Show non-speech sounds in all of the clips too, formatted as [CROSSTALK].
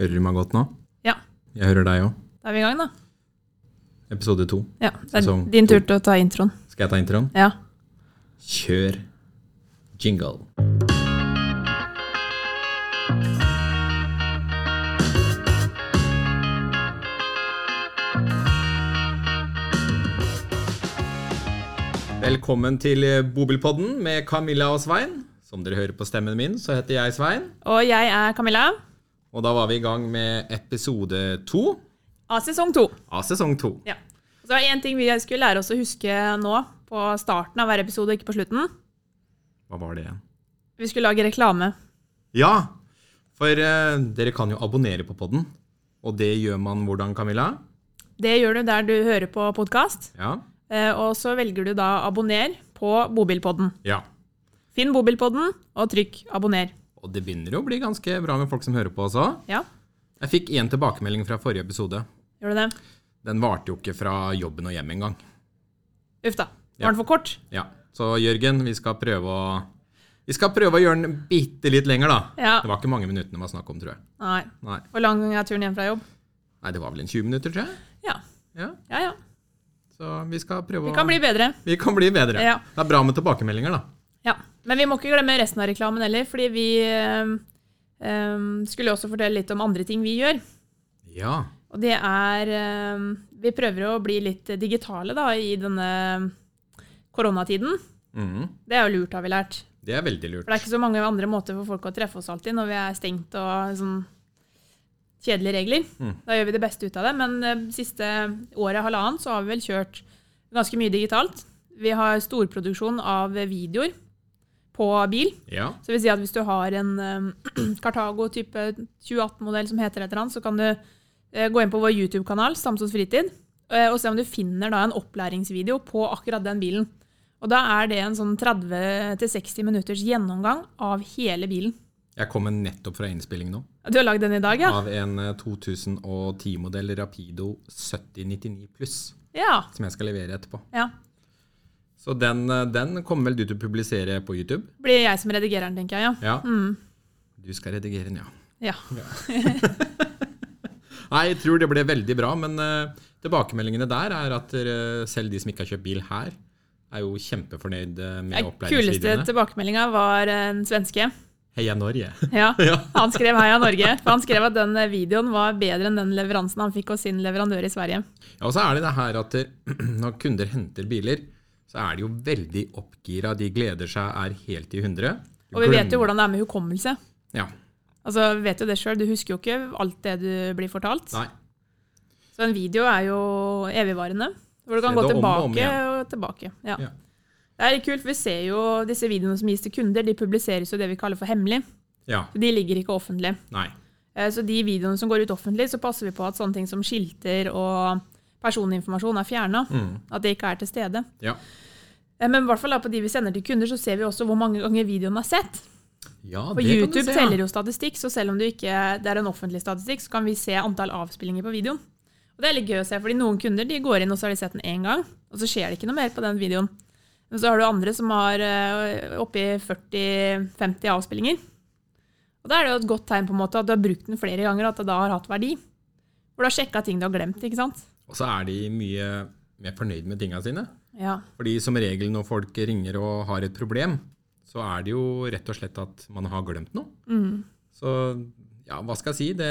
Hører du meg godt nå? Ja. Jeg hører deg òg. Da er vi i gang, da. Episode to. Ja, Det er Sesong din to. tur til å ta introen. Skal jeg ta introen? Ja. Kjør jingle. Velkommen til eh, Bobilpodden med Camilla og Svein. Som dere hører på stemmen min, så heter jeg Svein. Og jeg er Camilla Og da var vi i gang med episode to av sesong to. av sesong to. Ja. Og så er det én ting vi skulle lære oss å huske nå, på starten av hver episode, ikke på slutten. Hva var det igjen? Vi skulle lage reklame. Ja, for eh, dere kan jo abonnere på podden. Og det gjør man hvordan, Camilla? Det gjør du der du hører på podkast. Ja. Og så velger du da abonner på Bobilpodden. ja. Finn Bobilpodden og trykk abonner. Og det begynner jo å bli ganske bra med folk som hører på også. Ja, Jeg fikk én tilbakemelding fra forrige episode. gjør du det? Den varte jo ikke fra jobben og hjem engang. Uff da. Ja. Var den for kort? Ja. Så Jørgen, vi skal prøve å vi skal prøve å gjøre den bitte litt lenger, da. Ja. Det var ikke mange minuttene det var snakk om, tror jeg. Nei. Nei. Hvor lang er turen hjem fra jobb? Nei, det var vel en 20 minutter, tror jeg. Ja. Ja. Ja, ja. Så vi skal prøve Vi kan bli bedre. vi kan bli bedre. Ja. Det er bra med tilbakemeldinger, da. Ja, Men vi må ikke glemme resten av reklamen heller, fordi vi øhm, øhm, skulle også fortelle litt om andre ting vi gjør. Ja. Og det er øhm, Vi prøver å bli litt digitale da, i denne koronatiden. Mhm. Det er jo lurt, har vi lært. Det er veldig lurt. For det er ikke så mange andre måter for folk å treffe oss alltid når vi er stengt og sånn kjedelige regler. Mm. Da gjør vi det beste ut av det. Men eh, siste året, halvannet, så har vi vel kjørt ganske mye digitalt. Vi har storproduksjon av videoer på bil. Ja. Så det vil si at hvis du har en [CLEARS THROAT] eh, Cartago type 2018-modell som heter et eller annet, så kan du eh, gå inn på vår YouTube-kanal, Samsons fritid, eh, og se om du finner da en opplæringsvideo på akkurat den bilen. Og da er det en sånn 30-60 minutters gjennomgang av hele bilen. Jeg kommer nettopp fra innspilling nå. Du har lagd den i dag, ja? Av en eh, 2010-modell Rapido 7099 pluss, Ja. som jeg skal levere etterpå. ja. Så den, eh, den kommer vel du til å publisere på YouTube? Blir jeg som redigerer den, tenker jeg. Mm, Ja. Du skal redigere den, ja. Ja. ja. Nei, jeg tror det ble veldig bra, men eh, tilbakemeldingene der er at dere, selv de som ikke har kjøpt bil her, er jo kjempefornøyd eh, med Den kuleste opplæringsvideoene. tilbakemeldinga var en svenske. Heia Norge! [LAUGHS] Ja. ja. Han skrev 'Heia Norge', for han skrev at den eh, videoen var bedre enn den leveransen han fikk hos sin leverandør i Sverige. Ja, og så er det det her at eh, [CLEARS THROAT] når kunder henter biler, så er de jo veldig oppgira. De gleder seg, er helt i hundre. Og vi vet jo hvordan det er med hukommelse. Ja, Altså, vi vet jo det selv, Du husker jo ikke alt det du blir fortalt. nei. Så en video er jo evigvarende. Hvor du kan Se gå det om og om tilbake igjen. og tilbake. Ja. Ja. Det er litt kult. Vi ser jo disse videoene som gis til kunder, de publiseres jo det vi kaller for hemmelig. Ja, De ligger ikke offentlig. nei. Eh, Så de videoene som går ut offentlig, så passer vi på at sånne ting som skilter og personinformasjon er fjerna. Mm. At det ikke er til stede. Ja. Eh, Men i hvert fall da på de vi sender til kunder, så ser vi også hvor mange ganger videoen er sett. ja På YouTube teller jo statistikk, så selv om det ikke det er en offentlig statistikk, så kan vi se antall avspillinger på videoen. Og det er litt gøy å se, fordi noen kunder de går inn og så har de sett den én gang, og så skjer det ikke noe mer på den videoen. Men så har du andre som har eh, oppi 40-50 avspillinger. Og da er det jo et godt tegn på en måte at du har brukt den flere ganger, og at det da har hatt verdi. For du har sjekka ting du har glemt, ikke sant? Og så er de mye mer fornøyd med tinga sine. Ja. Fordi som regel når folk ringer og har et problem, så er det jo rett og slett at man har glemt noe. Mm. Så ja, hva skal jeg si? Det,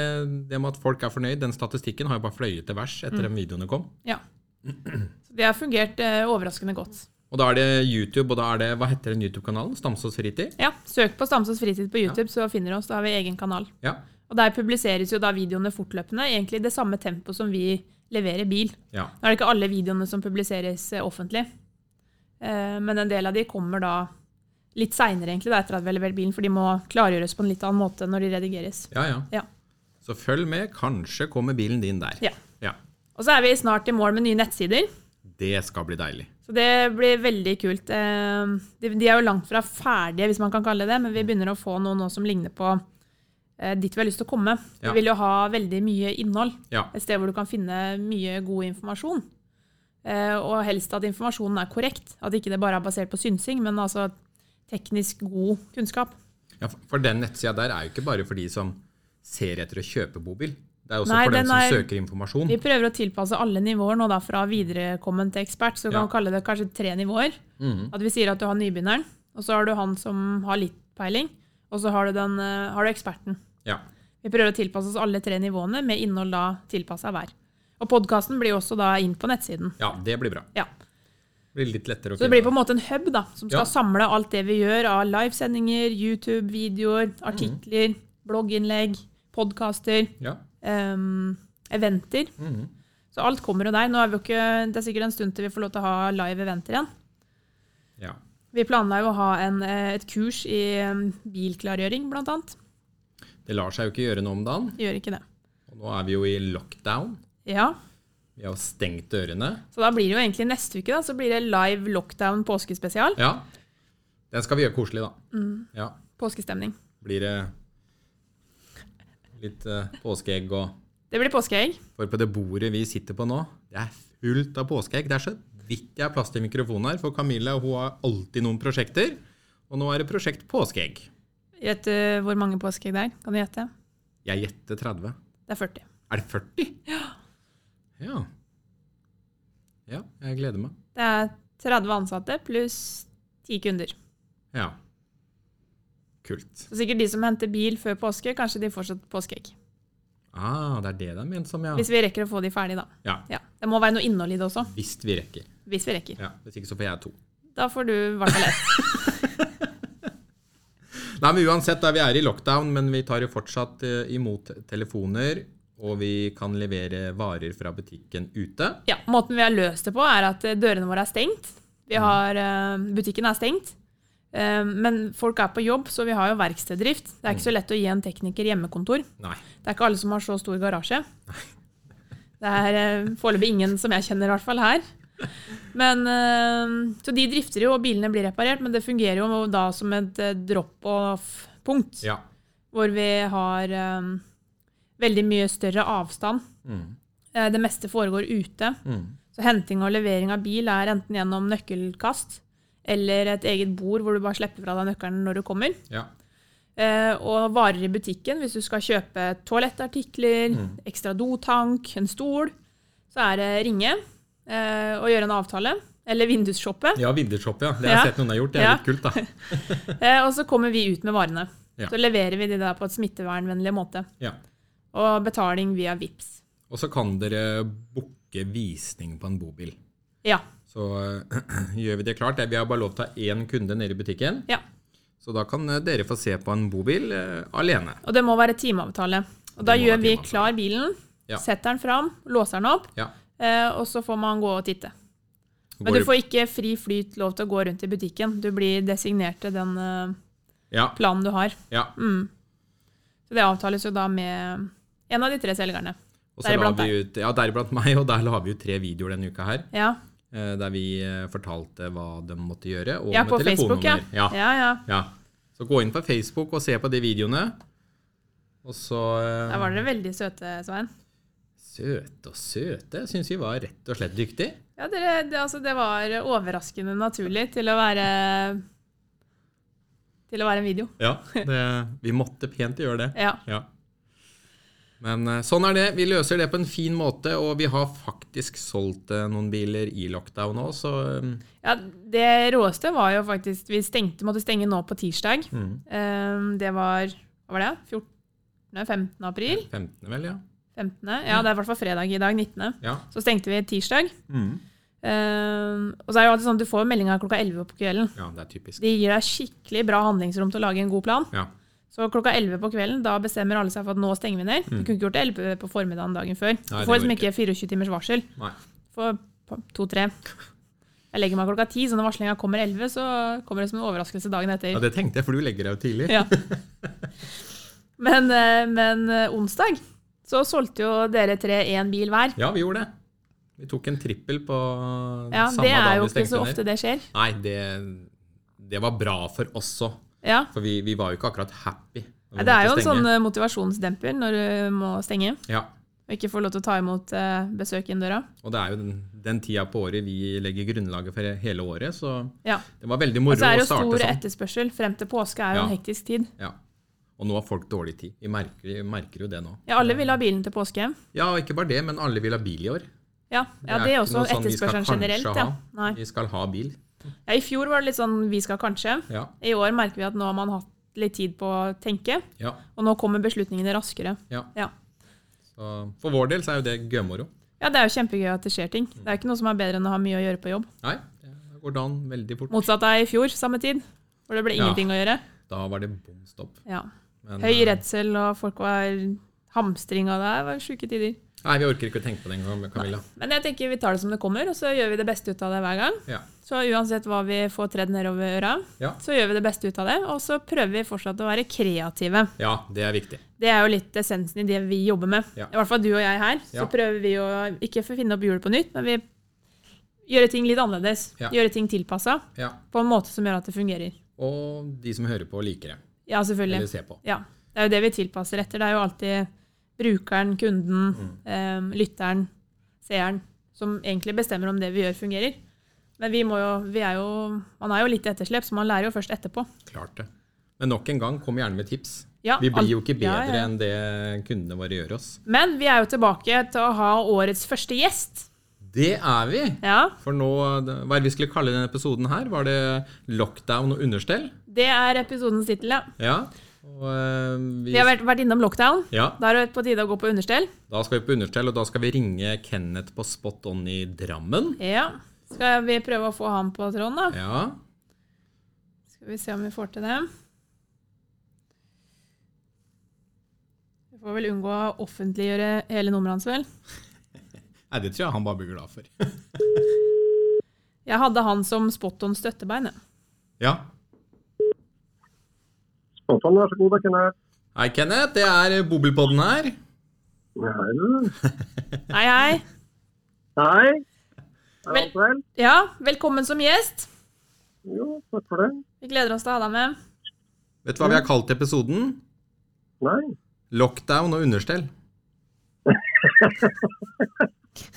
det med at folk er fornøyd, den statistikken har jo bare fløyet til vers Mm. etter de videoene kom. ja. Så det har fungert eh, overraskende godt. Og da er det YouTube, og da er det Hva heter den YouTube-kanalen? Stamsås fritid? Ja, Søk på Stamsås fritid på YouTube, så finner du oss. Da har vi egen kanal. Ja. Og der publiseres jo da videoene fortløpende, egentlig i det samme tempo som vi leverer bil. ja. Nå er det ikke alle videoene som publiseres eh, offentlig, eh, men en del av de kommer da litt seinere, egentlig, da, etter at vi har levert bilen, for de må klargjøres på en litt annen måte når de redigeres. Ja, ja. Ja. Så følg med. Kanskje kommer bilen din der. Ja. ja. Og så er vi snart i mål med nye nettsider, Det skal bli deilig. så det blir veldig kult. Eh, De de er jo langt fra ferdige, hvis man kan kalle det det, men vi begynner å få noe nå som ligner på eh, dit vi har lyst til å komme. Ja. Vi vil jo ha veldig mye innhold. Ja. Et sted hvor du kan finne mye god informasjon. Eh, og helst at informasjonen er korrekt. At ikke det bare er basert på synsing, men altså teknisk god kunnskap. Ja, for- for den nettsida der er jo ikke bare for de som ser etter å kjøpe bobil. Det er også Nei, for den dem som er- søker informasjon. Vi prøver å tilpasse alle nivåer nå da, fra viderekommen til ekspert. Så du kan Ja. kalle det kanskje tre nivåer. Mhm. At vi sier at du har nybegynneren, og så har du han som har litt peiling, og så har du, den, eh, har du eksperten. Ja. Vi prøver å tilpasse oss alle tre nivåene med innhold da tilpassa hver. Og podkasten blir jo også da inn på nettsiden. ja, det blir bra. Ja. Det blir litt lettere å Så det blir på en måte en hub da, som skal Ja. samle alt det vi gjør av livesendinger, YouTube-videoer, artikler, blogginnlegg, podkaster, Ja. ehm, eventer. Mhm. Så alt kommer jo der. Nå er vi jo ikke, det er sikkert en stund til vi får lov til å ha live eventer igjen. ja. Vi planla jo å ha en, eh, et kurs i em, bilklargjøring, blant annet. Det lar seg jo ikke gjøre noe om dagen. Gjør ikke det. Og nå er vi jo i lockdown. Ja, Vi har jo stengt dørene. Så da blir det jo egentlig neste uke da, så blir det live lockdown påskespesial. Ja. Den skal vi gjøre koselig, da. Mm. Ja. Påskestemning. Blir det litt eh, påskeegg og Det blir påskeegg. For på det bordet vi sitter på nå, det er fullt av påskeegg. Det er så vidt jeg har plass til mikrofonen her, for Camilla hun har alltid noen prosjekter. Og nå er det prosjekt påskeegg. Gjett eh, hvor mange påskeegg det er. Kan du gjette? Jeg gjetter 30. Det er 40. Er det 40? Ja. Ja, ja jeg gleder meg. Det er 30 ansatte pluss 10 kunder. Ja. Kult. Så sikkert de som henter bil før påske, kanskje de fortsatt påskeegg. Ah, det er det det er ment som, ja. Hvis vi rekker å få de ferdig, da. Ja, Ja. Det må være noe innhold i det også. Hvis vi rekker. Hvis vi rekker. Ja, Hvis ikke så får jeg to. Da får du i hvert fall ett. Nei, men Uansett, da, vi er i lockdown, men vi tar jo fortsatt eh, imot telefoner. Og vi kan levere varer fra butikken ute. Ja, måten vi har løst det på, er at eh, dørene våre er stengt. Vi har, eh, butikken er stengt. Eh, Men folk er på jobb, så vi har jo verkstedrift. Det er ikke så lett å gi en tekniker hjemmekontor. Nei. Det er ikke alle som har så stor garasje. Det er eh, foreløpig ingen som jeg kjenner, i hvert fall her. Men, eh, så de drifter jo, og bilene blir reparert, men det fungerer jo da som et eh, drop-off-punkt, Ja. hvor vi har eh, veldig mye større avstand. Mm. Eh, Det meste foregår ute. Mm. Så henting og levering av bil er enten gjennom nøkkelkast eller et eget bord hvor du bare slipper fra deg nøkkelen når du kommer. Ja. Eh, og varer i butikken, hvis du skal kjøpe toalettartikler, ekstra dotank, en stol, så er det ringe eh, og gjøre en avtale. Eller vindusshoppe. ja, vindershop, ja. Det har jeg Ja. sett noen har gjort. Det er Ja. litt kult, da. [LAUGHS] Eh, og så kommer vi ut med varene. Ja. Så leverer vi de der på et smittevernvennlig måte. Ja. Og betaling via VIPS. Og så kan dere booke visning på en bobil. Ja. Så [CLEARS THROAT] eh, gjør vi det klart. Vi har bare lov til å ha én kunde nede i butikken. ja. Så da kan eh, dere få se på en bobil eh, alene. Og det må være timeavtale. Og da Det må gjør være vi timeavtale. klar bilen, Ja. setter den fram, låser den opp, Ja. eh, og så får man gå og titte. Men du får ikke fri flyt lov til å gå rundt i butikken. Du blir designert til den eh, ja, planen du har. ja. Mm. Så det avtales jo da med en av de tre selgerne. Og så la Deriblant vi ut, ja, deriblant meg, og der la vi ut tre videoer denne uka her. Ja, eh, Der vi eh, fortalte hva de måtte gjøre, og ja med på Facebook, ja. telefonnummer. Ja. Ja. ja, ja. Så gå inn på Facebook og se på de videoene. Og så eh, Der var dere veldig søte, Svein. Søte og søte. Jeg syns vi var rett og slett dyktige. Ja, dere, det, altså, det var overraskende naturlig til å være til å være en video. Ja, det, vi måtte pent gjøre det. Ja. Ja. Men eh, sånn er det. Vi løser det på en fin måte, og vi har faktisk solgt eh, noen biler i lockdown òg, så eh, ja det råeste var jo faktisk Vi stengte, måtte stenge nå på tirsdag. mm, Eh, det var Hva var det? 14. 15. april? 15. vel, ja. 15. Ja, det er i hvert fall fredag i dag. 19. ja. Så stengte vi tirsdag. Mm. Eh, og så er det jo alltid sånn at du får meldinga klokka 11 på kvelden. Ja, det er typisk. De gir deg skikkelig bra handlingsrom til å lage en god plan. Ja. Så klokka 11 på kvelden, da bestemmer alle seg for at nå stenger vi ned. Du kunne ikke gjort det 11 på formiddagen dagen før. Du Mm. det får liksom går ikke 24 timers varsel. Nei. Får på- to-tre. Jeg legger meg klokka 10, så når varslinga kommer 11, så kommer det som en overraskelse dagen Ja, etter. det tenkte jeg, for du legger deg jo tidlig. Ja. Men, eh, men eh, onsdag så solgte jo dere tre én bil hver. Ja, vi gjorde det. Vi tok en trippel på Ja, samme Det er dag vi jo ikke stengte så ned. ofte det skjer. Nei, det, det var bra for oss òg. Ja. For vi, vi var jo ikke akkurat happy. når vi Det er jo måtte en sånn stenge. eh, motivasjonsdemper når du må stenge Ja, og ikke får lov til å ta imot eh, besøk inn døra. Og det er jo den, den tida på året vi legger grunnlaget for hele året, så Ja. det var veldig moro Og så er å det jo starte stor sånn. etterspørsel. Frem til påske er jo en Ja. hektisk tid. Ja. Og nå har folk dårlig tid. Vi merker, vi merker jo det nå. Ja, alle vil ha bilen til påske. Ja, og ikke bare det, men alle vil ha bil i år. Ja, ja det er ikke også noe sånn vi skal etterspørselen kanskje generelt. ha. Ja. Nei. Vi skal ha bil. ja, I fjor var det litt sånn 'vi skal kanskje'. Ja. I år merker vi at nå har man hatt litt tid på å tenke, ja, og nå kommer beslutningene raskere. ja. Ja. Så for vår del så er jo det gøymoro. ja, det er jo kjempegøy at det skjer ting. Det er jo ikke noe som er bedre enn å ha mye å gjøre på jobb. Nei, det går dagen veldig fort. Motsatt av i fjor, samme tid, hvor det ble Ja. ingenting å gjøre. Da var det bom stopp. Ja. Men, Høy eh, redsel, og folk var hamstring, og det var sjuke tider. Nei, vi orker ikke å tenke på det engang, Camilla. Men jeg tenker vi tar det som det kommer, og så gjør vi det beste ut av det hver gang. Ja. Så uansett hva vi får tredd nedover øra, Ja. så gjør vi det beste ut av det, og så prøver vi fortsatt å være kreative. ja, det er viktig. Det er jo litt essensen i det vi jobber med. Ja. I hvert fall du og jeg her. Så Ja. prøver vi å ikke finne opp hjulet på nytt, men vi gjøre ting litt annerledes. Ja. Gjøre ting tilpassa Ja. på en måte som gjør at det fungerer. Og de som hører på, liker det. Ja, selvfølgelig. Eller ser på. Ja. Det er jo det vi tilpasser etter. Det er jo alltid brukeren, kunden, Mm. eh, lytteren, seeren som egentlig bestemmer om det vi gjør, fungerer. Men vi må jo, vi er jo Man er jo litt etterslep, så man lærer jo først etterpå. Klart det. Men nok en gang, kom gjerne med tips. Ja, Vi alt- blir jo ikke bedre ja, ja. enn det kundene våre gjør oss. Men vi er jo tilbake til å ha årets første gjest. Det er vi! Ja, For nå, Hva er det vi skulle kalle denne episoden her? Var det lockdown og understell? Det er episodens tittel, ja. Ja. Og, eh, vi, Vi har vært, vært innom lockdown. ja. Da er det på tide å gå på understell. Da skal vi på understell, og da skal vi ringe Kenneth på Spot On i Drammen. Ja. Skal vi prøve å få han på tråden, da? Ja. Skal vi se om vi får til det. Vi får vel unngå å offentliggjøre hele nummeret hans, vel. Nei, det tror jeg han bare blir glad for. Jeg hadde han som spot on støttebein. jeg. Ja. Sånn, vær så god, det kunne jeg. Hei, Kenneth. Det er Bobilpodden her. Hei, du. Hei, hei. Hei. Er Vel- alt vel? Ja, velkommen som gjest. Jo, takk for det. Vi gleder oss til å ha deg med. Vet du hva vi har kalt episoden? Nei. Lockdown og understell.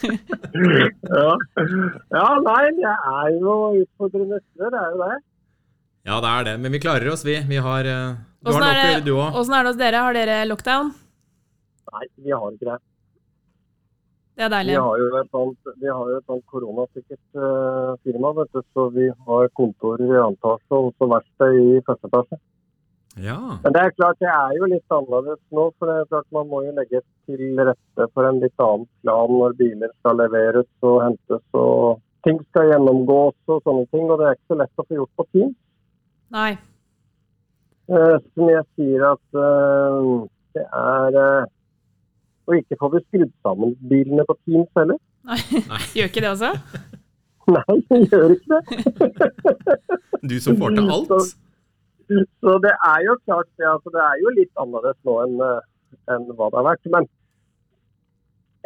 Ja, ja nei, jeg er jo utfordrende neste, det er jo det. Ja, det er det. Men vi klarer oss, vi. Vi har eh, Du har Åssen nok å er, gjøre, det- du òg. åssen er det hos dere? Har dere lockdown? Nei, vi har ikke det. Det er Vi deilig. har jo et sånt, vi har jo et sånt koronasikkert eh, firma, vet du, så vi har kontorer i andre etasje og også verksted i første etasje. Ja. Men det er klart, det er jo litt annerledes nå, for det er klart man må jo legge til rette for en litt annen plan når biler skal leveres og hentes og ting skal gjennomgås og sånne ting. Og det er ikke så lett å få gjort på Teams. Nei. Eh, som jeg sier at eh, det er eh, Og ikke får vi skrudd sammen bilene på Teams heller. [LAUGHS] Nei. Gjør ikke det også? Nei, vi gjør ikke det. Du som får til alt. Så det er jo klart det, altså, det er jo litt annerledes nå enn eh, enn hva det har vært. Men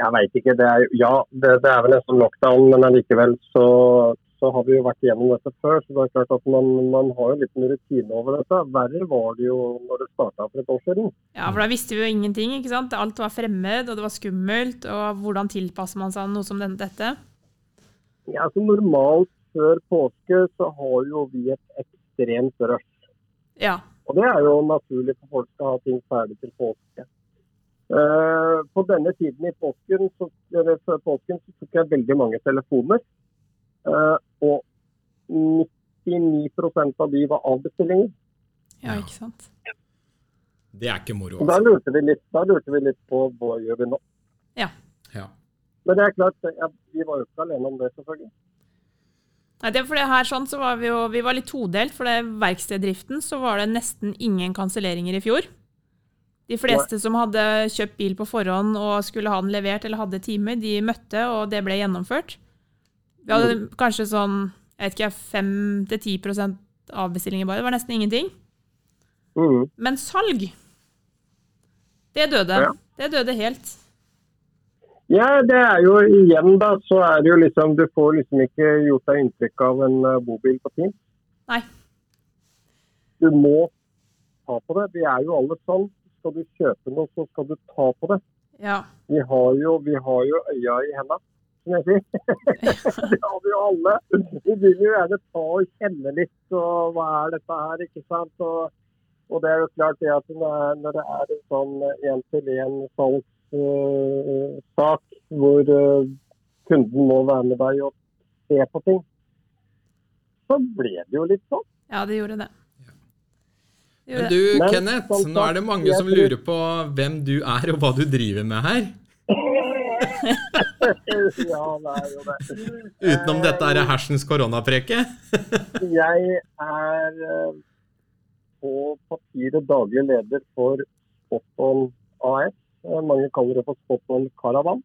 jeg veit ikke. Det er, jo- ja, det, det er vel nesten lockdown, men allikevel så, så har vi jo vært igjennom dette før. Så det er klart at man, man har jo litt en rutine over dette. Verre var det jo når det starta for et år siden. Ja, for da visste vi jo ingenting. ikke sant? Alt var fremmed, og det var skummelt. Og hvordan tilpasser man seg noe som den- dette? Ja, altså Normalt før påske så har jo vi et ekstremt rush. Ja. Og det er jo naturlig for folk skal ha ting ferdig til påske. Eh, på denne tiden i påsken så, eller før påsken så tok jeg veldig mange telefoner. Eh, og 99 av de var avbestillinger. Ja, Ja. ikke sant. Det er ikke moro. Og da Altså. lurte vi litt, da lurte vi litt på hva gjør vi nå. Ja. Men det er klart, jeg, vi var jo ikke alene om det, selvfølgelig. Nei, det er for det her sånn så var Vi jo, vi var litt todelt. For det verksteddriften så var det nesten ingen kanselleringer i fjor. De fleste som hadde kjøpt bil på forhånd og skulle ha den levert eller hadde timer, de møtte, og det ble gjennomført. Vi hadde kanskje sånn jeg vet ikke, 5-10 avbestillinger bare. Det var nesten ingenting. Mm. Men salg, det døde. Ja. Det døde helt. Ja, det er jo igjen da, så er det jo liksom, du får liksom ikke gjort deg inntrykk av en eh, bobil på Teams. Nei. Du må ta på det. Vi er jo alle sånn. Skal du kjøpe noe, så skal du ta på det. Ja. Vi har jo, vi har jo øya i henda, som jeg sier. [LAUGHS] det har vi jo alle. Vi vil jo gjerne ta og kjenne litt, og hva er dette her, ikke sant. Og Og det er jo klart det at når når det er en sånn én-til-én-salgssak eh, hvor eh, kunden må være med deg og se på ting, så ble det jo litt sånn. Ja, det gjorde det. Ja. Det Men gjorde det. du, Men, Kenneth, som nå er det sagt, mange jeg som tror- lurer på hvem du er og hva du driver med her. [LAUGHS] ja, det er jo det. Utenom Eh, dette er det hersens koronapreke. Jeg er eh, på papiret daglig leder for Spotton AS. Eh, Mange kaller det for Spotton Caravan.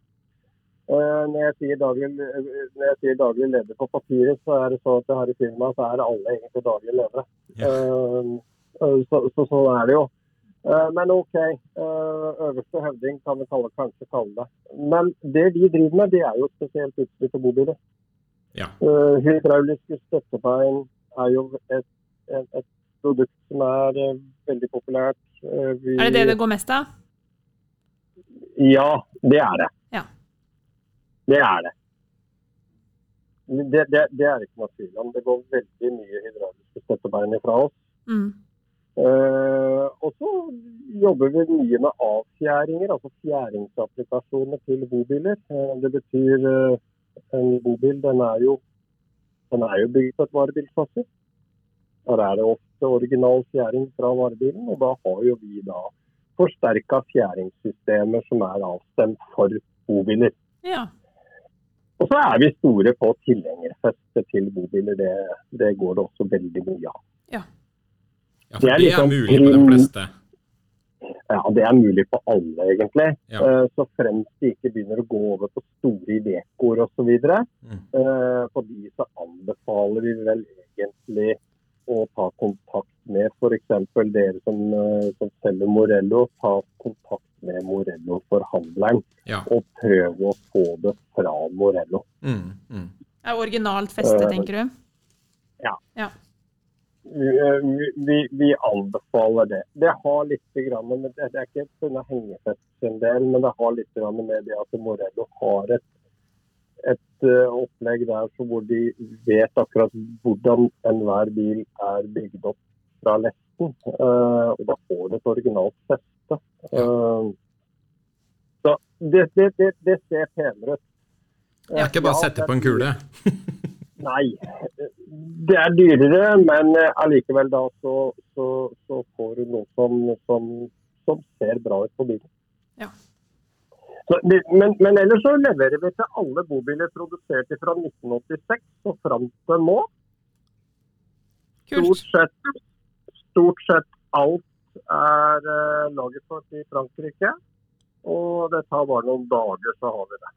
Eh, Når jeg, sier daglig, eh, når jeg sier daglig leder på papiret, så er det sånn at her i firmaet så er alle egentlig daglig ledere. Ja. Eh, eh, Så, så sånn er det jo. Eh, Men OK, eh, øverste høvding kan vi kalle, kanskje kalle det. Men det vi driver med, det er jo spesielt utstyr til bobiler. Ja. Eh, hydrauliske støttebein er jo et, et, et produkt som er eh, veldig populært. Eh, vi- Er det det det går mest av? Ja, det er det. Ja. Det er det. Det, det, det er ikke noe tvil om. Det går veldig mye hydrauliske støttebein ifra oss. Mm. Eh, og så jobber vi mye med avfjæringer, altså fjæringsapplikasjoner til bobiler. Eh, det betyr eh, en bobil den er jo, den er jo bygd på et varebilsfassi. Der er det ofte original fjæring fra varebilen, og da har jo vi da forsterka fjæringssystemer som er avstemt for bobiler. Ja. Og så er vi store på tilhengerfeste til bobiler. Det, det går det også veldig mye av. ja, for Det det er er liksom mulig på de prim- fleste. Ja, Det er mulig på alle, egentlig. Ja. Eh, Så fremt de ikke begynner å gå over på store Ivecoer osv. Mm. Eh, på de så anbefaler vi vel egentlig å ta kontakt med f.eks. dere som, eh, som selger Morello. Ta kontakt med Morello-forhandleren Ja. og prøve å få det fra Morello. Mm. Mm. Det er originalt feste, Eh, tenker du? Eh, vi, vi- vi anbefaler det. Det har litt grann med det, det er ikke pga. hengefest en del, men det har litt grann med det at Morello har et, et eh, opplegg der så hvor de vet akkurat hvordan enhver bil er bygd opp fra lesten. eh, og da får det et originalt feste. Eh, så det, det, det, det ser penere ut. Det er ikke bare å Ja, sette det på en er- kule. Nei, det er dyrere, men eh, allikevel da så, så, så får du noe som, som, som ser bra ut på bilen. Ja. Så, det- men, men ellers så leverer vi til alle bobiler produsert fra 1986 og fram til nå. Stort Kult. sett, stort sett alt er eh, laget for i Frankrike. Og det tar bare noen dager, så har vi det.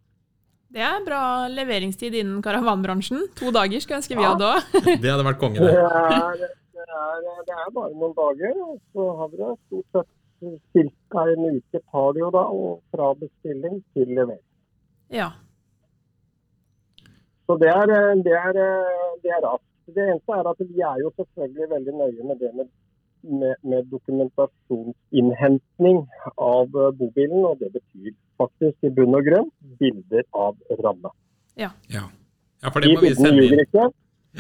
Det er bra leveringstid innen karavanbransjen. To dager skulle jeg ønske vi Ja. hadde òg. Det hadde vært konge, Det det. er, det, er, det er bare noen dager, og så har vi det stort sett ca. en uke tar det jo da, og fra bestilling til levering. Ja. Så det er, eh, det er, eh, det er raskt. Det eneste er at vi er jo selvfølgelig veldig nøye med det med, med, med dokumentasjonsinnhentning av eh, bobilen, og det betyr faktisk i bunn og grunn bilder av ramme. Ja. ja, for det De må vi bildene sende ljuger inn. ikke.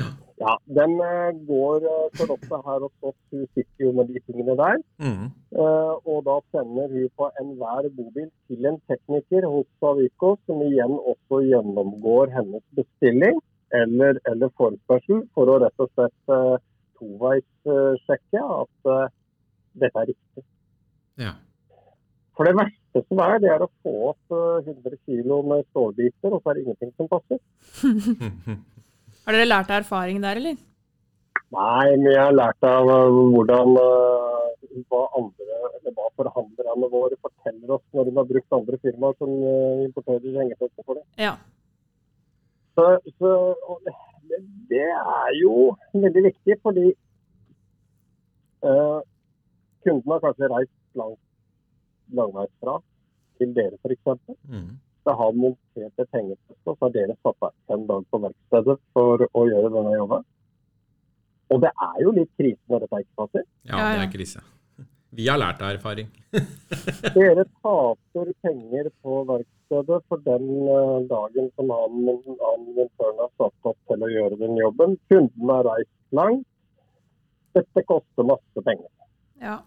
Ja. Ja, den eh, går eh, for ofte her hos oss. Hun sitter jo med de tingene der. Mm. [LAUGHS] Eh, Og da sender hun på enhver bobil til en tekniker hos Savico, som igjen også gjennomgår hennes bestilling eller, eller forespørsel, for å rett og slett eh, toveissjekke at eh, dette er riktig. Ja. For det verste som er, det er å få opp eh, 100 kg med stålbiter, og så er det ingenting som passer. Mm. Har dere lært av erfaring der, eller? Nei, men jeg har lært av eh, hvordan eh, hva andre, eller hva forhandlerne våre forteller oss når de har brukt andre firmaer som eh, importerer hengefester for dem. Ja. Så, så, og det, det er jo veldig viktig, fordi eh, kunden har kanskje reist langt, langveisfra til dere f.eks. Mm. Det har montert et hengefeste, og så har dere satt deg en dag på verkstedet for å gjøre denne jobben. Og det er jo litt krise når dette ikke passer. ja, Ja, det ja. er krise. Vi har lært av erfaring. Dere taper penger på verkstedet for den eh, dagen som han han montøren har satt opp til å gjøre den jobben. Kunden har reist langt. Dette koster masse penger. Ja.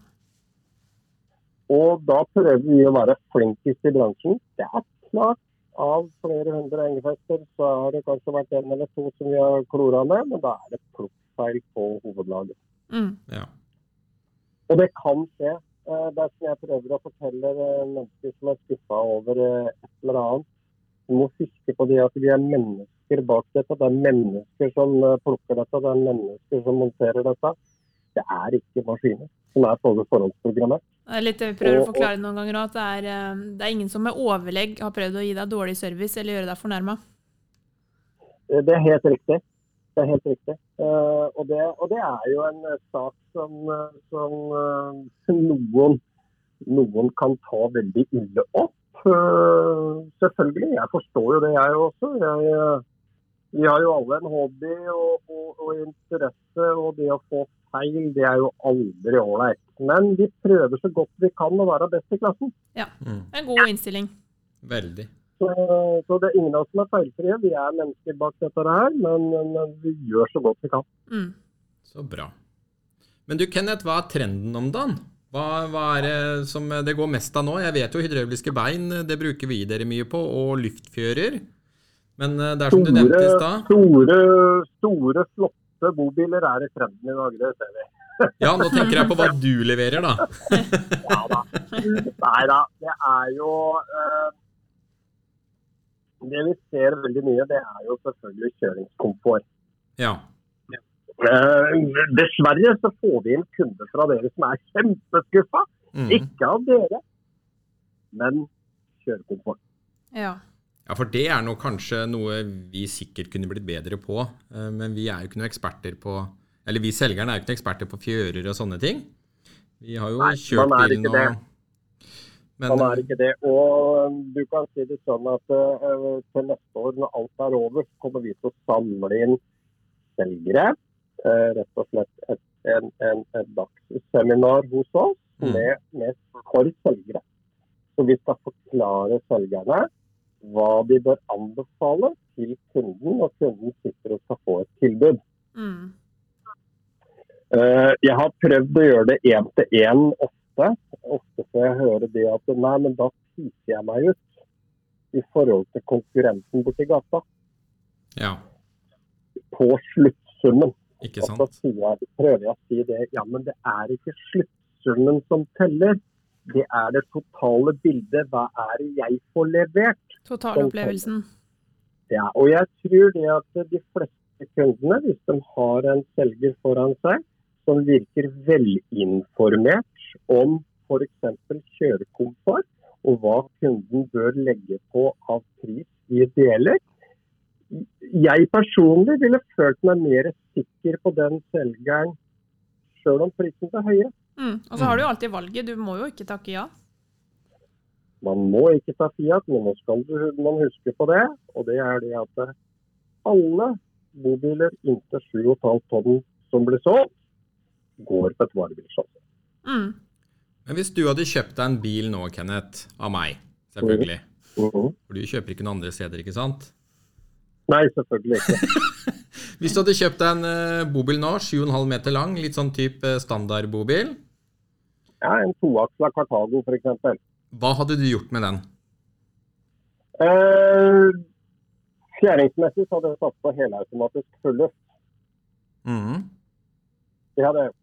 Og da prøver vi å være flinkest i bransjen. Det er klart av flere hundre englefester så har det kanskje vært en eller to som vi har klora med, men da er det plukkfeil på hovedlaget. Mm. Ja. Og det kan skje. Eh, Det er som jeg prøver å fortelle eh, mennesker som er skuffa over eh, et eller annet. Vi må huske på det at vi er mennesker bak dette. Det er mennesker som eh, plukker dette, det er mennesker som monterer dette. Det er ikke maskiner som er for- forhåndsprogrammert. Det er litt det vi prøver å Og- og- forklare noen ganger òg, at det er, eh, det er ingen som med overlegg har prøvd å gi deg dårlig service eller gjøre deg fornærma. Eh, Det er helt riktig. Det er helt riktig. Eh, og, det, og det er jo en eh, sak som, eh, som eh, [LAUGHS] noen, noen kan ta veldig ille opp. Eh, selvfølgelig. Jeg forstår jo det, jeg også. Jeg, eh, vi har jo alle en hobby og, og, og interesse, og det å få feil, det er jo aldri ålreit. Men vi prøver så godt vi kan å være best i klassen. Mm. En god innstilling. Veldig. Så, så det er ingen av oss som er feilfrie. Vi er mennesker bak dette her, men, men vi gjør så godt vi kan. Mm. Så bra. Men du, Kenneth, hva er trenden om dagen? Hva, hva er det som eh, det går mest av nå? Jeg vet jo hydrauliske bein, eh, det bruker vi dere mye på, og luftfjører. Men eh, det er som du nevnte i Store, stad store, store, flotte bobiler er i trenden i dag, det ser vi. Ja, nå tenker jeg på hva du leverer, da. Ja da. Nei da, det er jo eh, Det vi ser veldig mye, det er jo selvfølgelig kjøringskomfort. Ja. Eh, dessverre så får vi inn kunder fra dere som er kjempeskuffa. Mm. Ikke av dere, men kjørekomfort. Ja. Ja, for det er nå kanskje noe vi sikkert kunne blitt bedre på. eh, Men vi er jo ikke noen eksperter på Eller vi selgerne er jo ikke noen eksperter på fjører og sånne ting. Vi har jo Nei, kjørt man er bilen ikke det. og Men Han er ikke det. Og eh, du kan si det sånn at eh, til neste år, når alt er over, så kommer vi til å samle inn selgere. eh, rett og slett et, en, en, et dagsseminar hos oss Mm. med, med for selgere. Så vi skal forklare selgerne hva de bør anbefale til kunden når kunden sitter og skal få et tilbud. Mm. Eh, Jeg har prøvd å gjøre det én til én ofte. Ofte får jeg høre det at nei, men da piker jeg meg ut i forhold til konkurrenten borti gata ja, på sluttsummen. ikke Og så sant? sier jeg, prøver jeg å si det, ja, men det er ikke sluttsummen som teller. Det er det totale bildet. Hva er det jeg får levert? Totalopplevelsen. Ja, og jeg tror det at de fleste kundene, hvis de har en selger foran seg som virker velinformert om f.eks. kjørekomfort og hva kunden bør legge på av pris i deler Jeg personlig ville følt meg mer sikker på den selgeren sjøl om prisen er høyere. Mm. Og så har du jo alltid valget, du må jo ikke takke ja. Man må ikke ta Fiat, men nå skal du- man huske på det. Og det er det at eh, alle bobiler inntil 7,5 tonn som blir solgt, går på et varebilshow. Mm. Men hvis du hadde kjøpt deg en bil nå, Kenneth, av meg, selvfølgelig For du kjøper ikke noen andre steder, ikke sant? Nei, selvfølgelig ikke. Hvis du hadde kjøpt deg en eh, bobil nå, 7,5 meter lang, litt sånn type standardbobil, Ja, en toaksla Cartago f.eks. hva hadde du gjort med den? Eh, fjæringsmessig så hadde jeg satt på helautomatisk fulløft. Mhm. Det hadde jeg gjort.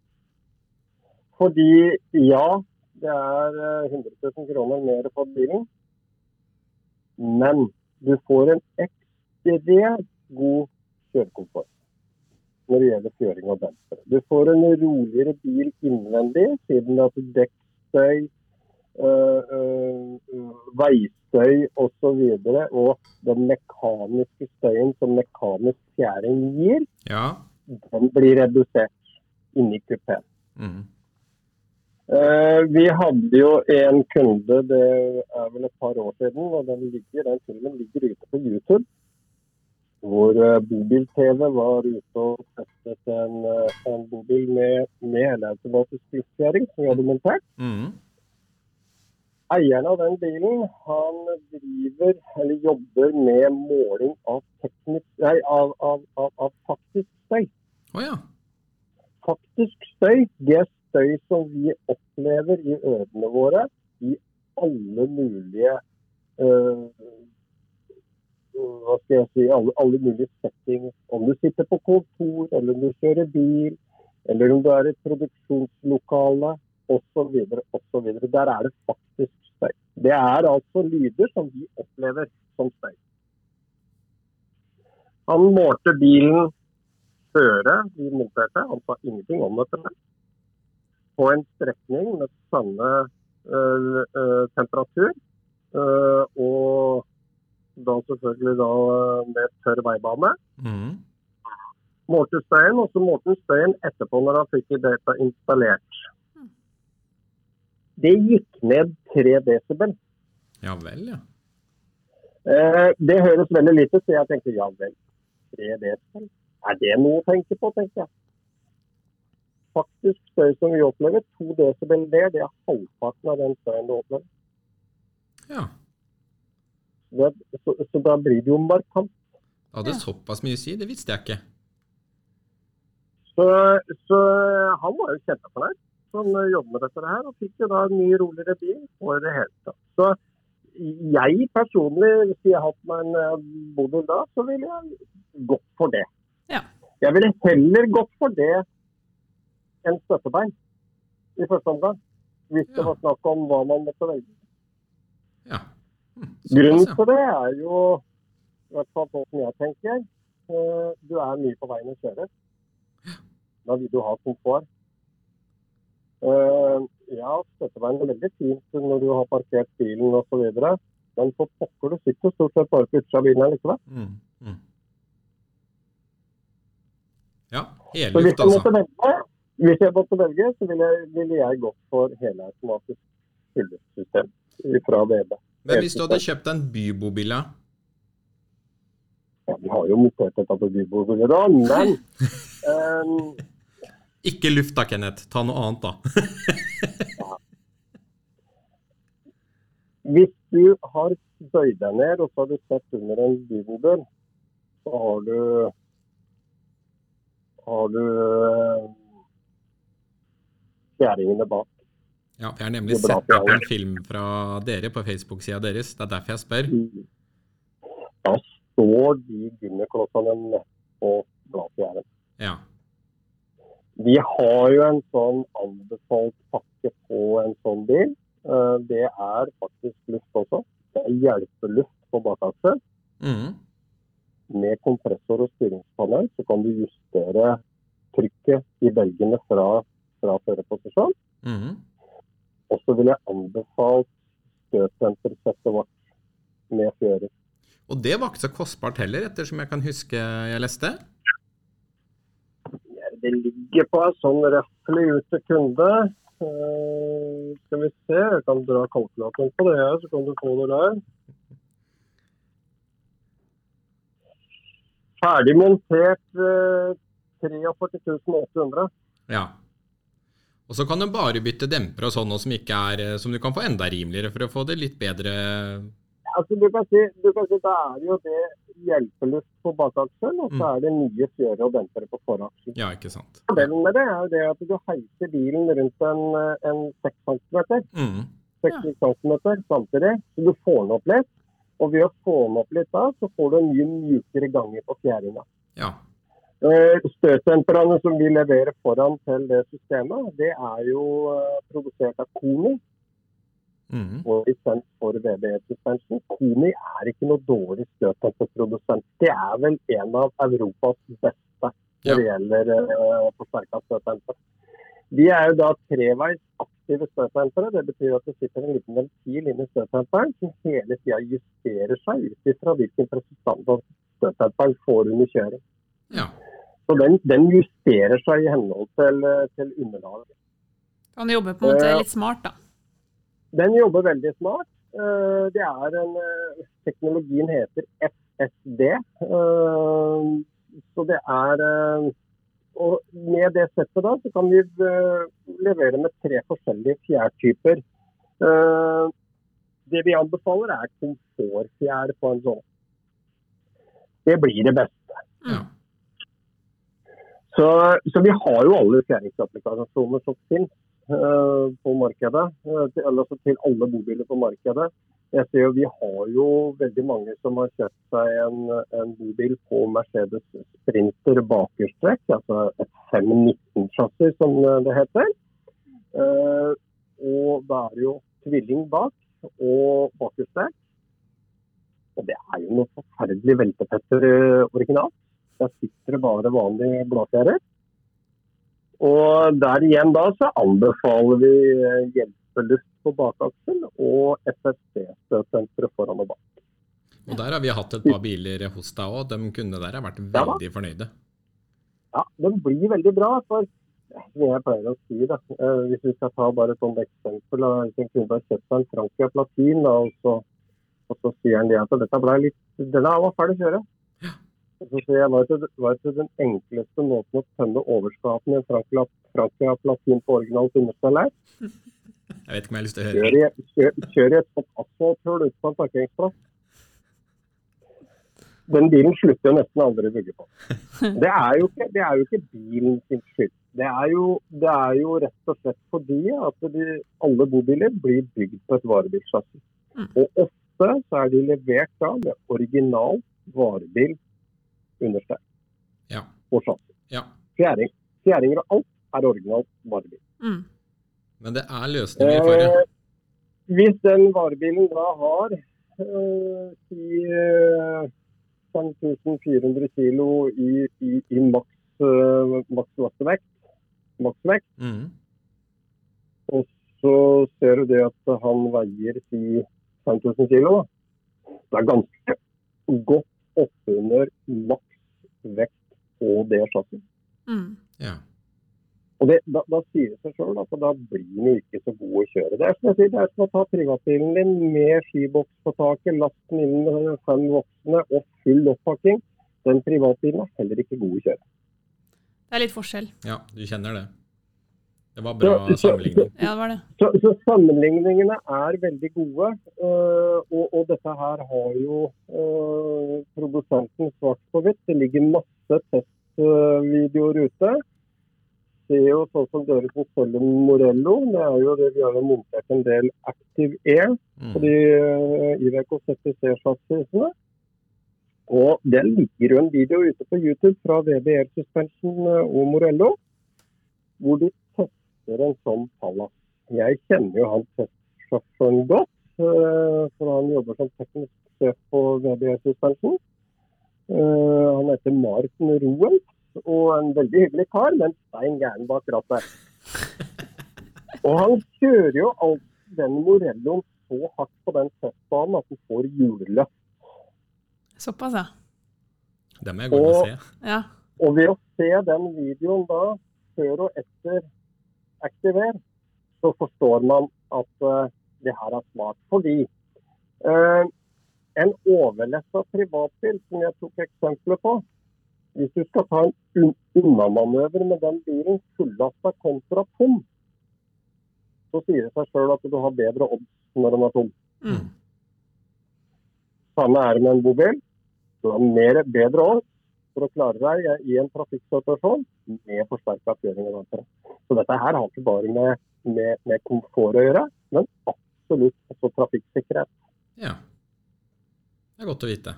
Fordi ja, det er eh, 100 000 kroner mer på bilen. Men du får en ekstremt god kjørekomfort når det gjelder kjøring og demper. Du får en roligere bil innvendig, siden at dekkstøy, øh, øh, veistøy osv. og den mekaniske støyen som mekanisk fjæring gir, Ja. den blir redusert inni kupeen. Mhm. Eh, vi hadde jo en kunde, det er vel et par år siden, og den, ligger, den filmen ligger ute på YouTube. Hvor eh, Bobil-TV var ute og testet en, eh, en bobil med, med helautomatisk luftfjæring som vi hadde montert. Mhm. Eieren av den bilen han driver, eller jobber med måling av, teknisk, nei, av, av, av, av faktisk støy. Å ja. Faktisk støy det er støy som vi opplever i ørene våre i alle mulige eh, hva skal jeg si, alle, alle mulige settings. Om du sitter på kontor, eller om du kjører bil, eller om du er i et produksjonslokale osv. osv. Der er det faktisk støy. Det er altså lyder som vi opplever som støy. Han målte bilen føre vi monterte, han sa ingenting om dette, på en strekning med samme eh, eh, temperatur. eh, og da selvfølgelig da eh, med tørr veibane. Mm. Målte støyen, og så målte han støyen etterpå når han fikk data installert. Mm. Det gikk ned 3 desibel. Ja vel, ja. Eh, det høres veldig lite ut, så jeg tenkte ja vel. 3 desibel, er det noe å tenke på, tenkte jeg. Faktisk støy som vi opplever, 2 desibel der, det er halvparten av den støyen du opplever. ja. Det, så, så da blir det jo markant. Det hadde Ja. såpass mye å si, det visste jeg ikke. Så, så eh, han var jo kjempefornøyd som eh, jobber med dette her, og fikk jo da en mye roligere bil for det hele tatt. Så jeg personlig, hvis jeg hadde hatt meg en eh, bodel da, så ville jeg gått for det. Ja. Jeg ville heller gått for det enn støttebein i første omgang. Hvis Ja. det var snakk om hva man måtte velge. Ja. Hm, Grunnen såpass, til det er jo, i hvert fall sånn som jeg tenker, eh, du er mye på veien å kjøre. Da vil du ha komfort. Eh, Ja, støtteveien er veldig fint når du har parkert bilen osv., men for pokker, du sitter stort sett bare på utsida av bilen her likevel. ja. Mm. Mm. Ja, Så hvis helluft, jeg altså. måtte velge, hvis jeg måtte velge så ville jeg, ville jeg gått for helautomatisk fullsystem fra VB. Men hvis du hadde kjøpt en bybobil, ja? Ja, vi har jo montert dette på bybordet da, [LAUGHS] men eh, Ikke luft da, Kenneth. Ta noe annet, da. Hvis du har bøyd deg ned og så har du sett under en bymodell, så har du har du eh, fjæringene bak. Ja, for jeg har nemlig Det er bra sett for alle. en film fra dere på Facebook-sida deres. Det er derfor jeg spør. Mm. Da står de gummiklossene nedpå bladfjæren. Ja. Vi har jo en sånn anbefalt pakke på en sånn bil. Eh, Det er faktisk luft også. Det er hjelpeluft på bakaksel. Mm. med kompressor og styringspanel så kan du justere trykket i belgene fra, fra førerposisjon. Mm. Og så vil jeg anbefalt støtsentersettet vårt med fjører. Og det var ikke så kostbart heller, ettersom jeg kan huske jeg leste. Det ligger på en sånn røffelig ut til kunde. Eh, skal vi se, jeg kan dra kalkulatoren på det her, så kan du få det der. Ferdig montert eh, 43 800. Ja. Og så kan du bare bytte demper og sånn, og som, ikke er, som du kan få enda rimeligere for å få det litt bedre. Altså, du kan si, du kan si Da er det jo det hjelpelyst på bakakselen, og så er det nye fjøre og dempere på forakselen. Ja, ikke sant. Fordelen med det er jo det at du heiser bilen rundt en, eh, en 6 cm, Mm. 60 cm samtidig, så du får den opp litt. Og ved å få den opp litt da, så får du en mye mjukere ganger på fjæringa. Ja. Eh, Støtdemperne som vi leverer foran til det systemet, det er jo eh, produsert av Koni. Mm. og lisens for VBE-lisensen. Koni er ikke noe dårlig støtdemperprodusent. Det er vel en av Europas beste Ja. når det gjelder uh, forsterka støtdemper. De er jo da treveis aktive støtdempere. Det betyr at det sitter en liten ventil inni støtdemperen som hele tida justerer seg ut ifra hvilken presisjon støtdemperen får under kjøring. Ja. Så den, den justerer seg i henhold til, eh, til underlaget. Kan jobbe på en måte Ja. litt smart, da. Den jobber veldig smart. Eh, Det er en, eh, teknologien heter FSD. Eh, Så det er eh, Og med det settet da, så kan vi eh, levere med tre forskjellige fjærtyper. Eh, Det vi anbefaler er komfortfjær på en sånn. Det blir det beste. Ja. Så, så vi har jo alle fjerningsapplikasjoner som finnes eh, på markedet. eh, til- Eller altså til alle bobiler på markedet. Jeg ser jo Vi har jo veldig mange som har kjøpt seg en, en bobil på Mercedes Sprinter bakerstrekk. Altså et 519-chassis, som det heter. Eh, og da er det jo tvilling bak og bakerstrekk. Og det er jo noe forferdelig veltepetter eh, originalt. Der sitter det bare vanlige bladfjærer. Og der igjen da så anbefaler vi eh, hjelpeluft på bakaksel og FSD-støtsenteret foran og bak. Og der har vi hatt et par biler hos deg òg. De kundene der har vært Ja da. veldig fornøyde. Ja, den blir veldig bra. for som jeg pleier å si da, eh, Hvis vi skal ta bare et sånt eksempel da, Hvis en kunde har kjøpt seg en Frankia Platin, da, og, så, og så sier han det at dette ble litt, denne var ferdig å kjøre. Og Så sier jeg, hva er det- hva er det den enkleste måten å tømme overskapene i en Frankia, Frankia Platin på originalt understell er? Jeg vet ikke om jeg har lyst til å høre. Kjør i, kjør, kjør i et sånt asfalthull ut på en parkeringsplass. Den bilen slutter jo nesten aldri å bygge [LAUGHS] på. Det er jo ikke, det er jo ikke bilen sin skyld. Det er, jo, det er jo rett og slett fordi at de, alle bobiler blir bygd på et varebilsjassi. Mm. Og ofte så er de levert da med original varebil understeg Ja. og chassis. ja. Fjæring, fjæringer og alt er originalt varebil. Mm. Men det er løsninger for det. Eh, hvis den varebilen da har eh, si eh, 5400 kilo i, i, i maks, eh, maks massevekt, maksvekt, Mm. og så ser du det at han veier si 5000 kilo, da. Det er ganske godt oppunder maksvekt på det chassis. Mm. Ja. Og det, da, da sier det seg sjøl at da blir den jo ikke så god å kjøre. Det er som, jeg sier, det er som å ta privatbilen din med skiboks på taket, last den inn med fem voksne og full oppakking. Den privatbilen er heller ikke god å kjøre. Det er litt forskjell. ja, du kjenner det. Det var bra Så- så- sammenligning. Ja, det var det. Så, så sammenligningene er veldig gode. øh, og, og dette her har jo øh, produsenten svart på hvitt. Det ligger masse testvideoer ute. Det er jo sånn som dere som selger Morello. Det er jo det vi har jo montert en del Active Air. på Mm. de eh, IVK 70C-sjassisene. Og det ligger jo en video ute på YouTube fra VBR Suspension eh, og Morello, hvor de tester en sånn Pallas. Jeg kjenner jo han testsjåføren godt, eh, for han jobber som teknisk sjef på VBR Suspension. Eh, Han heter Martin Roen, og en veldig hyggelig kar, men stein gæren bak rattet. Og han kjører jo alt den Morelloen så hardt på den testbanen at den får hjulløft. Såpass, ja. Det må jeg gå inn og se. Ja. Og ved å se den videoen da, før og etter aktiver, så forstår man at eh, det her er smart. Fordi eh, en overlessa privatbil, som jeg tok eksempler på Hvis du skal ta en un unnamanøver med den bilen fullasta kontra tom, så sier det seg sjøl at du har bedre odds når den er tom. Mm. Samme er det med en bobil. Du har mer, bedre år for å klare deg i en trafikksituasjon med forsterka kjøring. og venstre. Så dette her har ikke bare med, med, med komfort å gjøre, men absolutt også trafikksikkerhet. Ja. Det er godt å vite.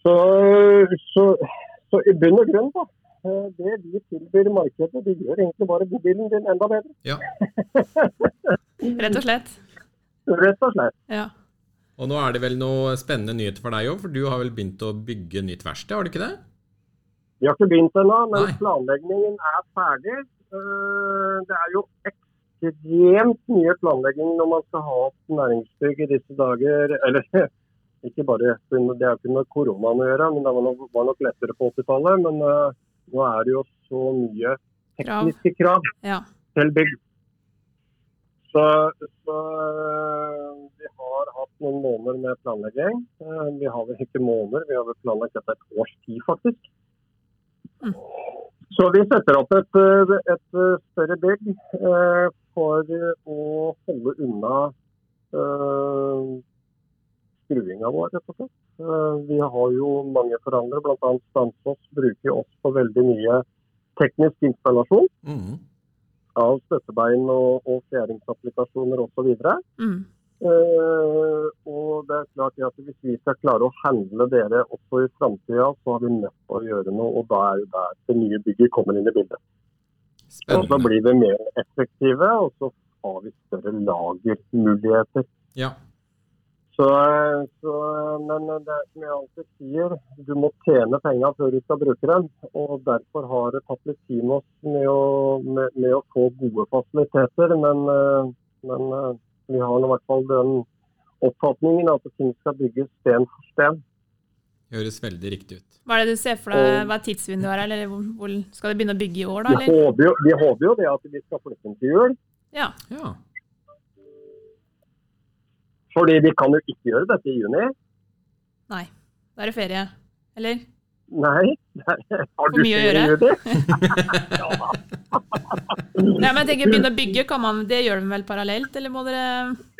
Så, så, så i bunn og grunn, da. eh, Det vi tilbyr markedet, de gjør egentlig bare bobilen din enda bedre. Ja. Mm. Rett og slett. Rett og slett. Ja. Og nå er det vel noe spennende nyheter for deg òg, for du har vel begynt å bygge nytt verksted, har du ikke det? Vi har ikke begynt ennå, men Nei. planleggingen er ferdig. Eh, Det er jo ekstremt mye planlegging når man skal ha opp næringsbygg i disse dager. Eller [LAUGHS] ikke bare, det har ikke med koronaen å gjøre, men det var nok, var nok lettere på 80-tallet. Men eh, nå er det jo så mye Krav. tekniske krav Ja. til bygg. Så, så øh, vi har hatt noen måneder med planlegging. Eh, Vi har vel ikke måneder, vi har vel planlagt dette et års tid, faktisk. Mm. Så vi setter opp et, øh, et øh, større bygg eh, for å holde unna øh, eh, skruinga vår, rett og slett. Eh, Vi har jo mange forhandlere, bl.a. Stansås bruker oss på veldig mye teknisk installasjon Mm. av støttebein og, og fjæringsapplikasjoner osv. Mm. Eh, og det er klart det at Hvis vi skal klare å handle dere også i framtida, så har vi nødt til å gjøre noe. og Da er jo der det nye bygget kommer inn i bildet. Og Da Spennende. blir vi mer effektive, og så har vi større lagermuligheter. Ja. Så, eh, så, eh, men det er som jeg alltid sier, du må tjene penga før du skal bruke dem. og Derfor har det tatt litt tid med oss med å, med, med å få gode fasiliteter. Men, eh, men eh, vi har nå i hvert fall den oppfatningen at ting skal bygges sten for sten. Høres veldig riktig ut. Hva er det du ser for deg, hva er tidsvinduet her, eller hvor, hvor skal det begynne å bygge i år, da? Vi Eller? håper jo, vi håper jo det at vi skal flytte inn til jul, Ja. Ja. fordi vi kan jo ikke gjøre dette i juni. Nei. Da er det ferie. Eller? Nei. Har For mye å ferie i juni? [LAUGHS] Nei, men jeg tenker begynne å bygge, kan man, det gjør de vel parallelt, eller må dere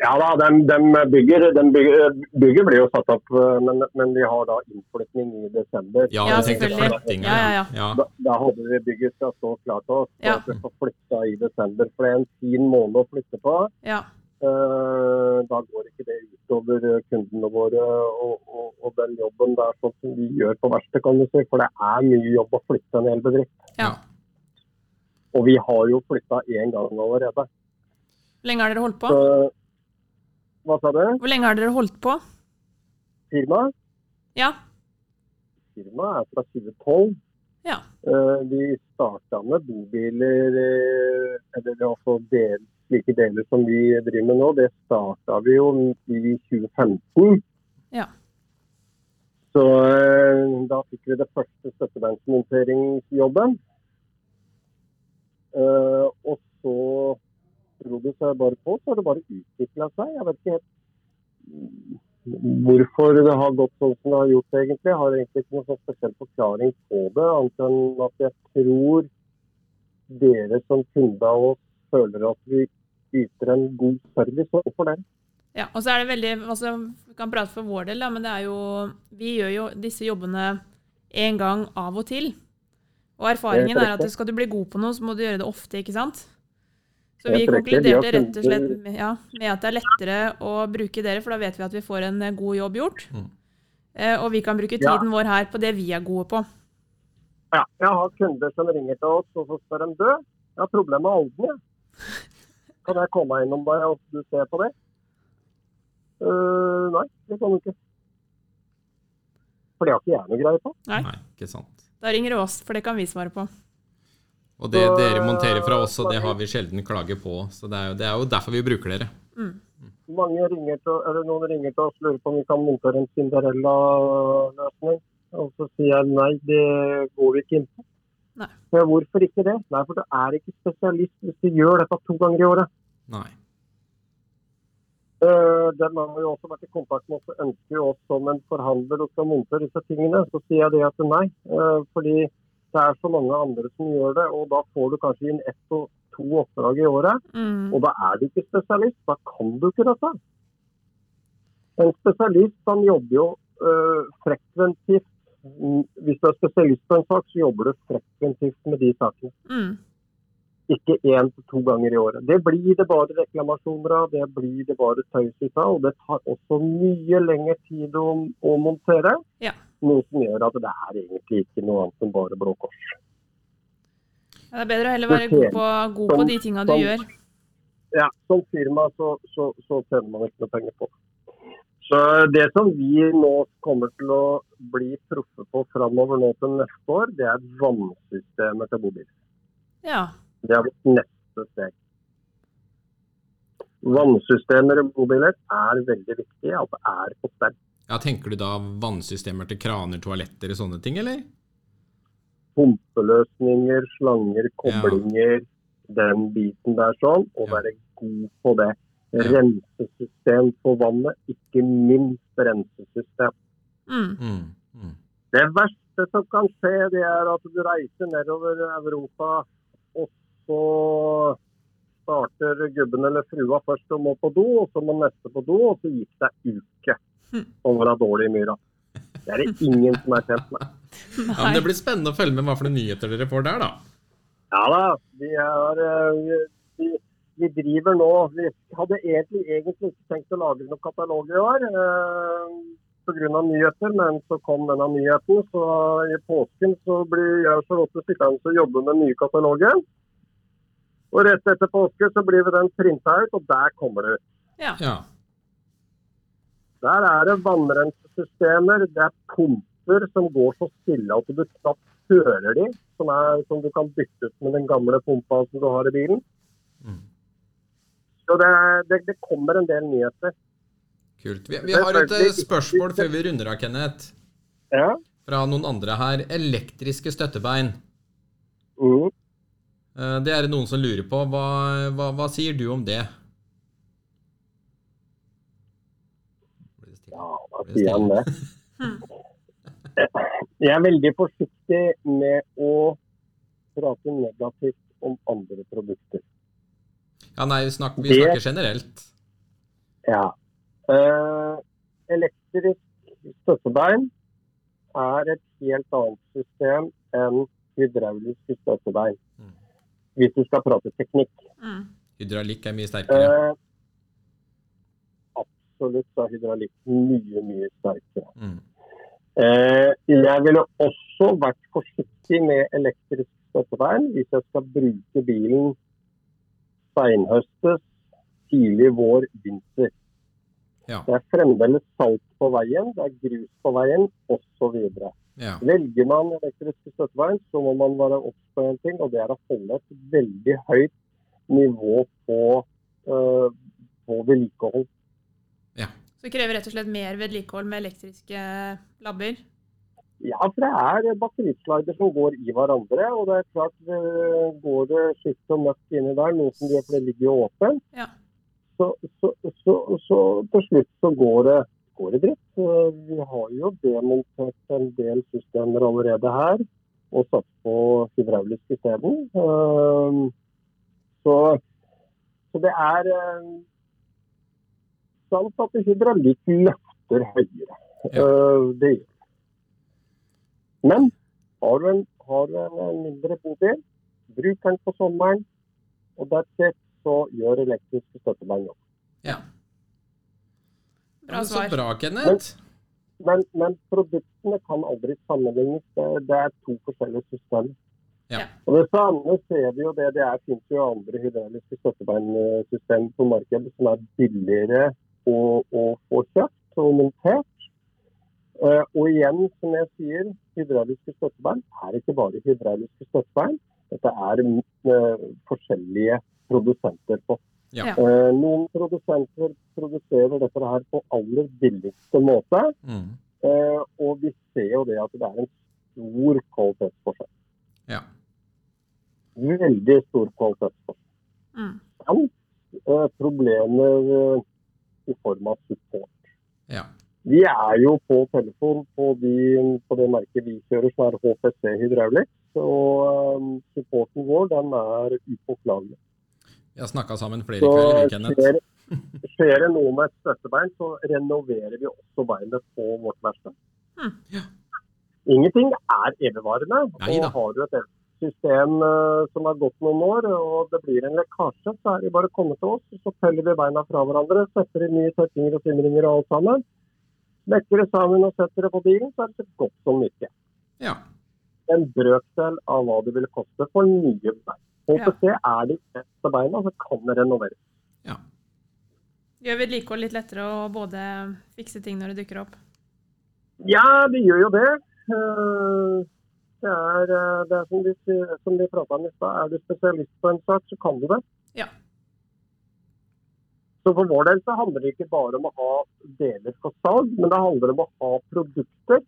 Ja da, de, bygger, dem bygger, bygger blir jo satt opp, eh, men, men vi har da innflytning i desember. Ja, Ja, du tenkte selvfølgelig. flyttinga. Ja, ja, Da, da håper vi bygget skal stå klart til oss, Ja. og at vi får flytta i desember. For det er en fin måned å flytte på. Ja. Eh, Da går ikke det utover eh, kundene våre og, og, og den jobben der sånn som vi gjør på verkstedet, kan du si. For det er mye jobb å flytte en hel bedrift. Ja. Og vi har jo flytta én gang allerede. Hvor lenge har dere holdt på? Så, hva sa du? Hvor lenge har dere holdt på? Firmaet? Ja. firmaet er fra 2012. Ja. Eh, vi starta med bobiler, eh, eller det er også del, slike deler som vi driver med nå. Det starta vi jo i 2015. Ja. Så eh, da fikk vi det første støttebeinsmonteringsjobben. Eh, og så dro det seg bare på, så har det bare utvikla seg. Jeg vet ikke helt Hvorfor det har gått sånn som det har gjort, egentlig. Jeg har egentlig ikke noen sånn spesiell forklaring på det, annet enn at jeg tror dere som kunde av oss føler at vi yter en god service overfor dere. Ja, og så er det veldig, altså Vi kan prate for vår del, da, men det er jo, vi gjør jo disse jobbene en gang av og til. Og erfaringen Helt er at riktig. skal du bli god på noe, så må du gjøre det ofte. ikke sant? Så vi Helt riktig. Vi har konkluderte rett og slett funnet- med, ja, med at det er lettere å bruke dere, for da vet vi at vi får en eh, god jobb gjort. Mm. Eh, Og vi kan bruke Ja. tiden vår her på det vi er gode på. Ja, jeg har kunder som ringer til oss og så spør de død. Jeg har problemer med ånden, jeg. Kan jeg komme innom deg og du ser på det? «Øh, nei, det kan du ikke. For det har ikke jeg noe greie på. Nei, ikke sant. Da ringer det oss, for det kan vi svare på. Og det dere monterer fra oss, og det har vi sjelden klage på. Så det er jo, det er jo derfor vi bruker dere. Mm, mange ringer til, eller noen ringer til oss og lurer på om vi kan montere en Cinderella-løsning. Og så sier jeg nei, det går vi ikke inn på. Nei. Ja, hvorfor ikke det? Nei, for du er ikke spesialist hvis du gjør dette to ganger i året. Nei. Eh, Den har jo også vært i kontakt med oss og ønsker jo oss som en forhandler og skal montere disse tingene. Så sier jeg det at nei, eh, fordi det er så mange andre som gjør det. Og da får du kanskje inn ett og to oppdrag i året. Mm. Og da er du ikke spesialist, da kan du ikke dette. En spesialist han jobber jo øh, frekventivt. Mm, Hvis du er spesialist på en sak, så jobber du frekventivt med de sakene. Mm. Ikke én til to ganger i året. Det blir det bare reklamasjoner av, det blir det bare tøys ut av. Og det tar også mye lengre tid å, å montere. Ja. Noe som gjør at det er egentlig ikke noe annet enn bare Blå Kors. Ja, Det er bedre å heller være god på, god på de tinga du Som- gjør. ja, som firma så, så, så tjener man ikke noe penger på det. Så det som vi nå kommer til å bli proffe på framover nå til neste år, det er vannsystemet til bobil. Ja. Det er vårt neste steg. Vannsystemer i bobiler er veldig viktig, at det er på stell. Ja, Tenker du da vannsystemer til kraner, toaletter og sånne ting, eller? Pumpeløsninger, slanger, koblinger, den biten der sånn. Og Ja. være god på det. Ja. Rensesystem for vannet, ikke minst rensesystem. Mm. Mm. Mm. Det verste som kan skje, det er at du reiser nedover Europa, og så starter gubben eller frua først og må på do, og så må neste på do, og så gikk det en uke. Hm. Og såra dårlig i myra. Det er det ingen som er tjent med. Ja, men det blir spennende å følge med hva for noen nyheter dere får der, da. Ja da, vi, er, eh, vi, vi driver nå Vi hadde egentlig, egentlig ikke tenkt å lage noen katalog i år eh, pga. nyheter, men så kom denne nyheten. Så i påsken så blir jeg så godt sittende og jobbe med den nye katalogen. Og rett etter påske så blir vi den printa ut, og der kommer det ut. Ja. Der er det vannrensesystemer, det er pumper som går så stille at du knapt hører de, som, er, som du kan bytte ut med den gamle pumpa som du har i bilen. Mm. Så det, det, det kommer en del nyheter. Kult. Vi, vi har et eh, spørsmål før vi runder av, Kenneth. Ja. Fra noen andre her. Elektriske støttebein. Mm. Eh, Det er det noen som lurer på. Hva, hva, hva sier du om det? Blir det stille? Ja, hva sier han det? Jeg er veldig forsiktig med å prate negativt om andre produkter. Ja, nei, vi snakker, vi Det- snakker generelt. Ja. Eh, elektrisk støttebein er et helt annet system enn hydrauliske støttebein. Mm. Hvis du skal prate teknikk. Mm. Hydraulikk er mye sterkere. Eh, absolutt så er hydraulikk mye, mye sterkere. Mm. Eh, jeg ville også vært forsiktig med elektrisk støttebein hvis jeg skal bruke bilen seinhøstes, tidlig vår, vinter. Ja. Det er fremdeles salt på veien, det er grus på veien osv. ja. Velger man elektriske støttebein, så må man være obs på en ting, og det er å holde et veldig høyt nivå på, eh, på vedlikehold. Så det krever rett og slett mer vedlikehold med elektriske labber. Ja, for det er batterislider som går i hverandre. Og det er klart, eh, går det skift og møkk inni der, noe som gjør for det ligger jo åpent, Ja. så, så, så, så til slutt så går det, går det dritt. Eh, Vi har jo demontert en del systemer allerede her, og satt på hydraulisk isteden. Eh, Så, så det er eh, sant at hydraulikk løfter høyere. Ja. Eh, Det gjør men har du en, har du en mindre bobil, bruk den på sommeren, og that's it, så gjør elektriske støttebein jobb. ja. Bra Men så svar. bra, Kenneth. Men, men produktene kan aldri sammenlignes. Det, det er to forskjellige systemer. Ja. Og Det samme ser vi jo det. Det er, finnes jo andre hydrauliske støttebeinsystemer på markedet som er billigere å, å få kjøpt og montert. Eh, og igjen, som jeg sier, hydrauliske støttebein er ikke bare hydrauliske støttebein. Dette er eh, forskjellige produsenter på. Ja. Ja. Eh, noen produsenter produserer dette her på aller billigste måte. Mm. Eh, og vi ser jo det at det er en stor kvalitetsforskjell. Ja. Veldig stor kvalitetsforskjell. Mm. Samt eh, problemer eh, i form av support. Ja. Vi er jo på telefon på, de, på det merket vi kjører, som er HPC hydraulikk. Og eh, supporten vår den er upåklagelig. Vi har snakka sammen flere Så eh, kvelder, vi, Kenneth. skjer, skjer det noe med et støttebein, så renoverer vi også beinet på vårt verksted. Hmm. Ja. Ingenting er evigvarende. Neida. Og har du et system eh, som har gått noen år, og det blir en lekkasje, så er det bare å komme til oss. Så feller vi beina fra hverandre, setter i nye tettinger og trimringer og alt sammen. Mekker det sammen og setter det på bilen, så er det så godt som nytt igjen. Ja. En brøkdel av hva det ville koste for nye bein. Ja. HPC er de beste beina, så kan det renoveres. ja. Gjør vedlikehold litt lettere å både fikse ting når det dukker opp. Ja, det gjør jo det. Eh, Det er, eh, det er som de, sier- som de prata om i stad, er du spesialist på en sak, så kan du det. Ja. Så for vår del så handler det ikke bare om å ha deler for salg, men det handler om å ha produkter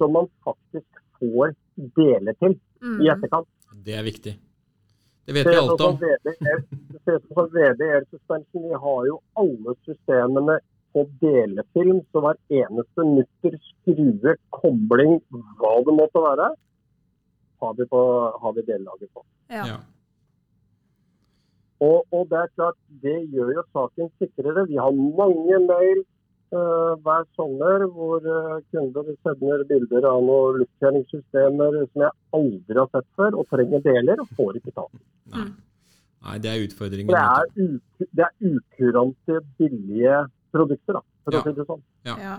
som man faktisk får deler til Mm. i etterkant. Det er viktig. Det vet Det vi er alt sånn om. som VDR det ser ut som sånn VDR Suspension. Vi har jo alle systemene på delefilm, så hver eneste mutter, skrue, kobling, hva det måtte være, har vi, på, har vi delelager på. Ja. Ja. Og, og det er klart, det gjør jo saken sikrere. Vi har mange mail, eh, hver sommer hvor eh, kunder sender bilder av noen luftkjøringssystemer som jeg aldri har sett før, og trenger deler og får ikke tak i. Nei. Mm. Nei, det er utfordringen. Det er, u- det er ukurante, billige produkter, da, for Ja. å si det sånn. Ja. Ja.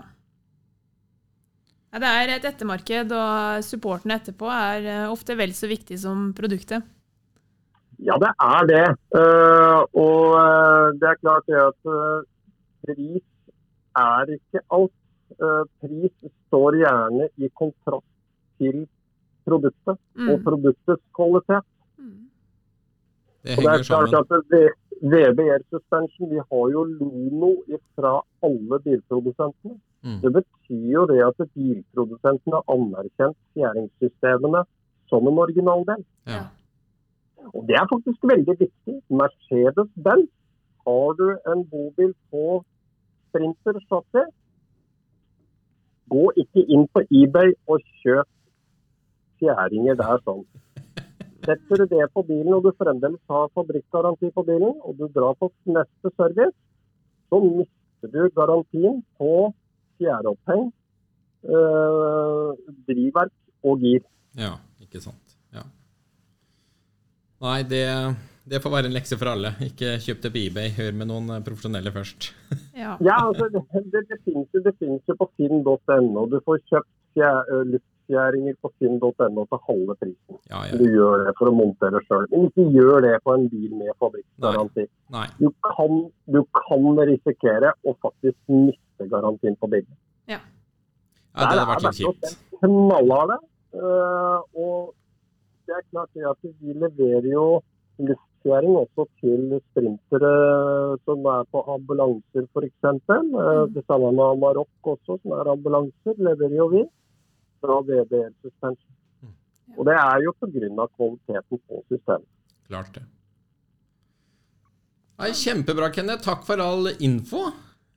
Ja, det er et ettermarked, og supporten etterpå er eh, ofte vel så viktig som produktet. Ja, det er det. Eh, og eh, det er klart det at eh, pris er ikke alt. Eh, pris står gjerne i kontrast til produktet og Mm. produktets kvalitet. Mm. Det Og det henger er klart sammen. at det- VBR Suspension, vi har jo Lono fra alle bilprodusentene. Mm. Det betyr jo det at bilprodusentene har anerkjent fjæringssystemene som en originaldel. Ja. Og det er faktisk veldig viktig. Mercedes-Benz, har du en bobil på Sprinter chassis, gå ikke inn på eBay og kjøp fjæringer der sånn. Setter du det på bilen og du fremdeles har fabrikkgaranti på bilen, og du drar på neste service, så mister du garantien på fjæreoppheng, eh, drivverk og gir. ja, ikke sant. Ja. Nei, det, det får være en lekse for alle. Ikke kjøp det på eBay. Hør med noen eh, profesjonelle først. Ja. Ja, altså, det, det, det, finnes, jo- det finnes jo på finn.no. Du får kjøpt fjæ- ø, luftfjæringer på finn.no til halve prisen. Ja, ja. Du gjør det for å montere sjøl. Men ikke gjør det på en bil med fabrikkgaranti. Nei. Du kan, du kan risikere å faktisk miste garantien på bilen. Ja, det Der hadde er vært litt Bergljot kjipt. en Knallharde. eh, og det er klart det at vi leverer jo luftfjæring også til sprintere som er på ambulanser f.eks. Uh, det samme med Amarok også, som er ambulanser, leverer jo vi fra VBL Suspension. Mm. Og det er jo pga. kvaliteten på systemet. Klart det. Nei, kjempebra, Kenneth. Takk for all info.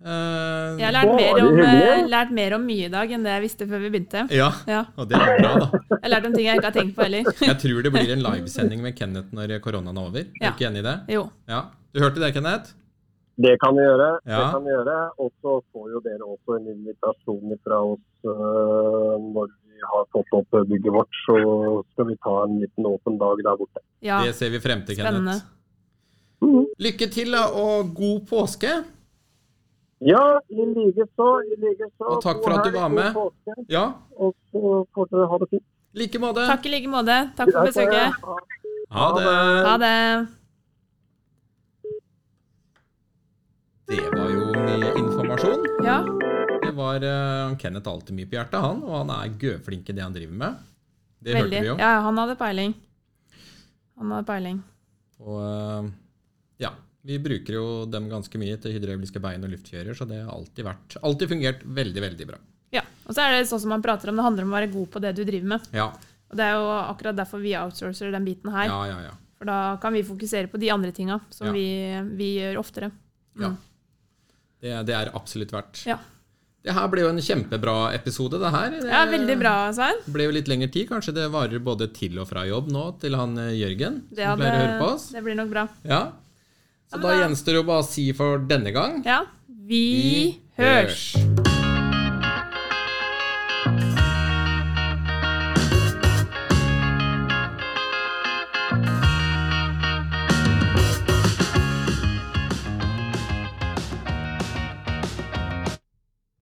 Eh, Jeg har lært Å, mer, det er om, eh, hyggelig. lært mer om mye i dag enn det jeg visste før vi begynte. ja, Ja. og det er bra, da. Jeg har lært om ting jeg ikke har tenkt på heller. Jeg tror det blir en livesending med Kenneth når koronaen er over. Er Ja. du ikke enig i det? Jo. Ja. Du hørte det, Kenneth? Det kan vi gjøre. det Ja. kan vi gjøre. Og så får jo dere også en invitasjon fra oss eh, når vi har fått opp bygget vårt. Så skal vi ta en liten åpen dag der borte. Ja. Det ser vi frem til, Spennende. Kenneth. Lykke til da, og god påske. Ja, i like så. I like så. Og takk God for at du helg, var god med. påske, Ja, Og så får dere ha det fint. like måte. Takk i like måte. Takk for besøket. Ha det. Ha det. Ha det. Det var jo mye informasjon. Ja. Det var eh, Kenneth har alltid mye på hjertet, han. Og han er gøflink i det han driver med. Det Veldig. hørte vi jo. Ja, han hadde peiling. Han hadde peiling. Og eh, ja, vi bruker jo dem ganske mye til hydrauliske bein og luftfjører, så det har alltid, vært, alltid fungert veldig, veldig bra. Ja. Og så er det sånn som man prater om, det handler om å være god på det du driver med. Ja, Og det er jo akkurat derfor vi outsourcer den biten her. ja, ja. ja. For da kan vi fokusere på de andre tinga som Ja. vi, vi gjør oftere. ja. Det, det er absolutt verdt. Mm. Ja. Det her ble jo en kjempebra episode, det her. Det Ja, veldig bra, Svein. ble jo litt lengre tid. Kanskje det varer både til og fra jobb nå til han eh, Jørgen, Det, som hadde, pleier å høre på oss. det blir nok bra. Ja. Så da men da- gjenstår det jo bare å si for denne gang Ja. Vi, hørs. hørs.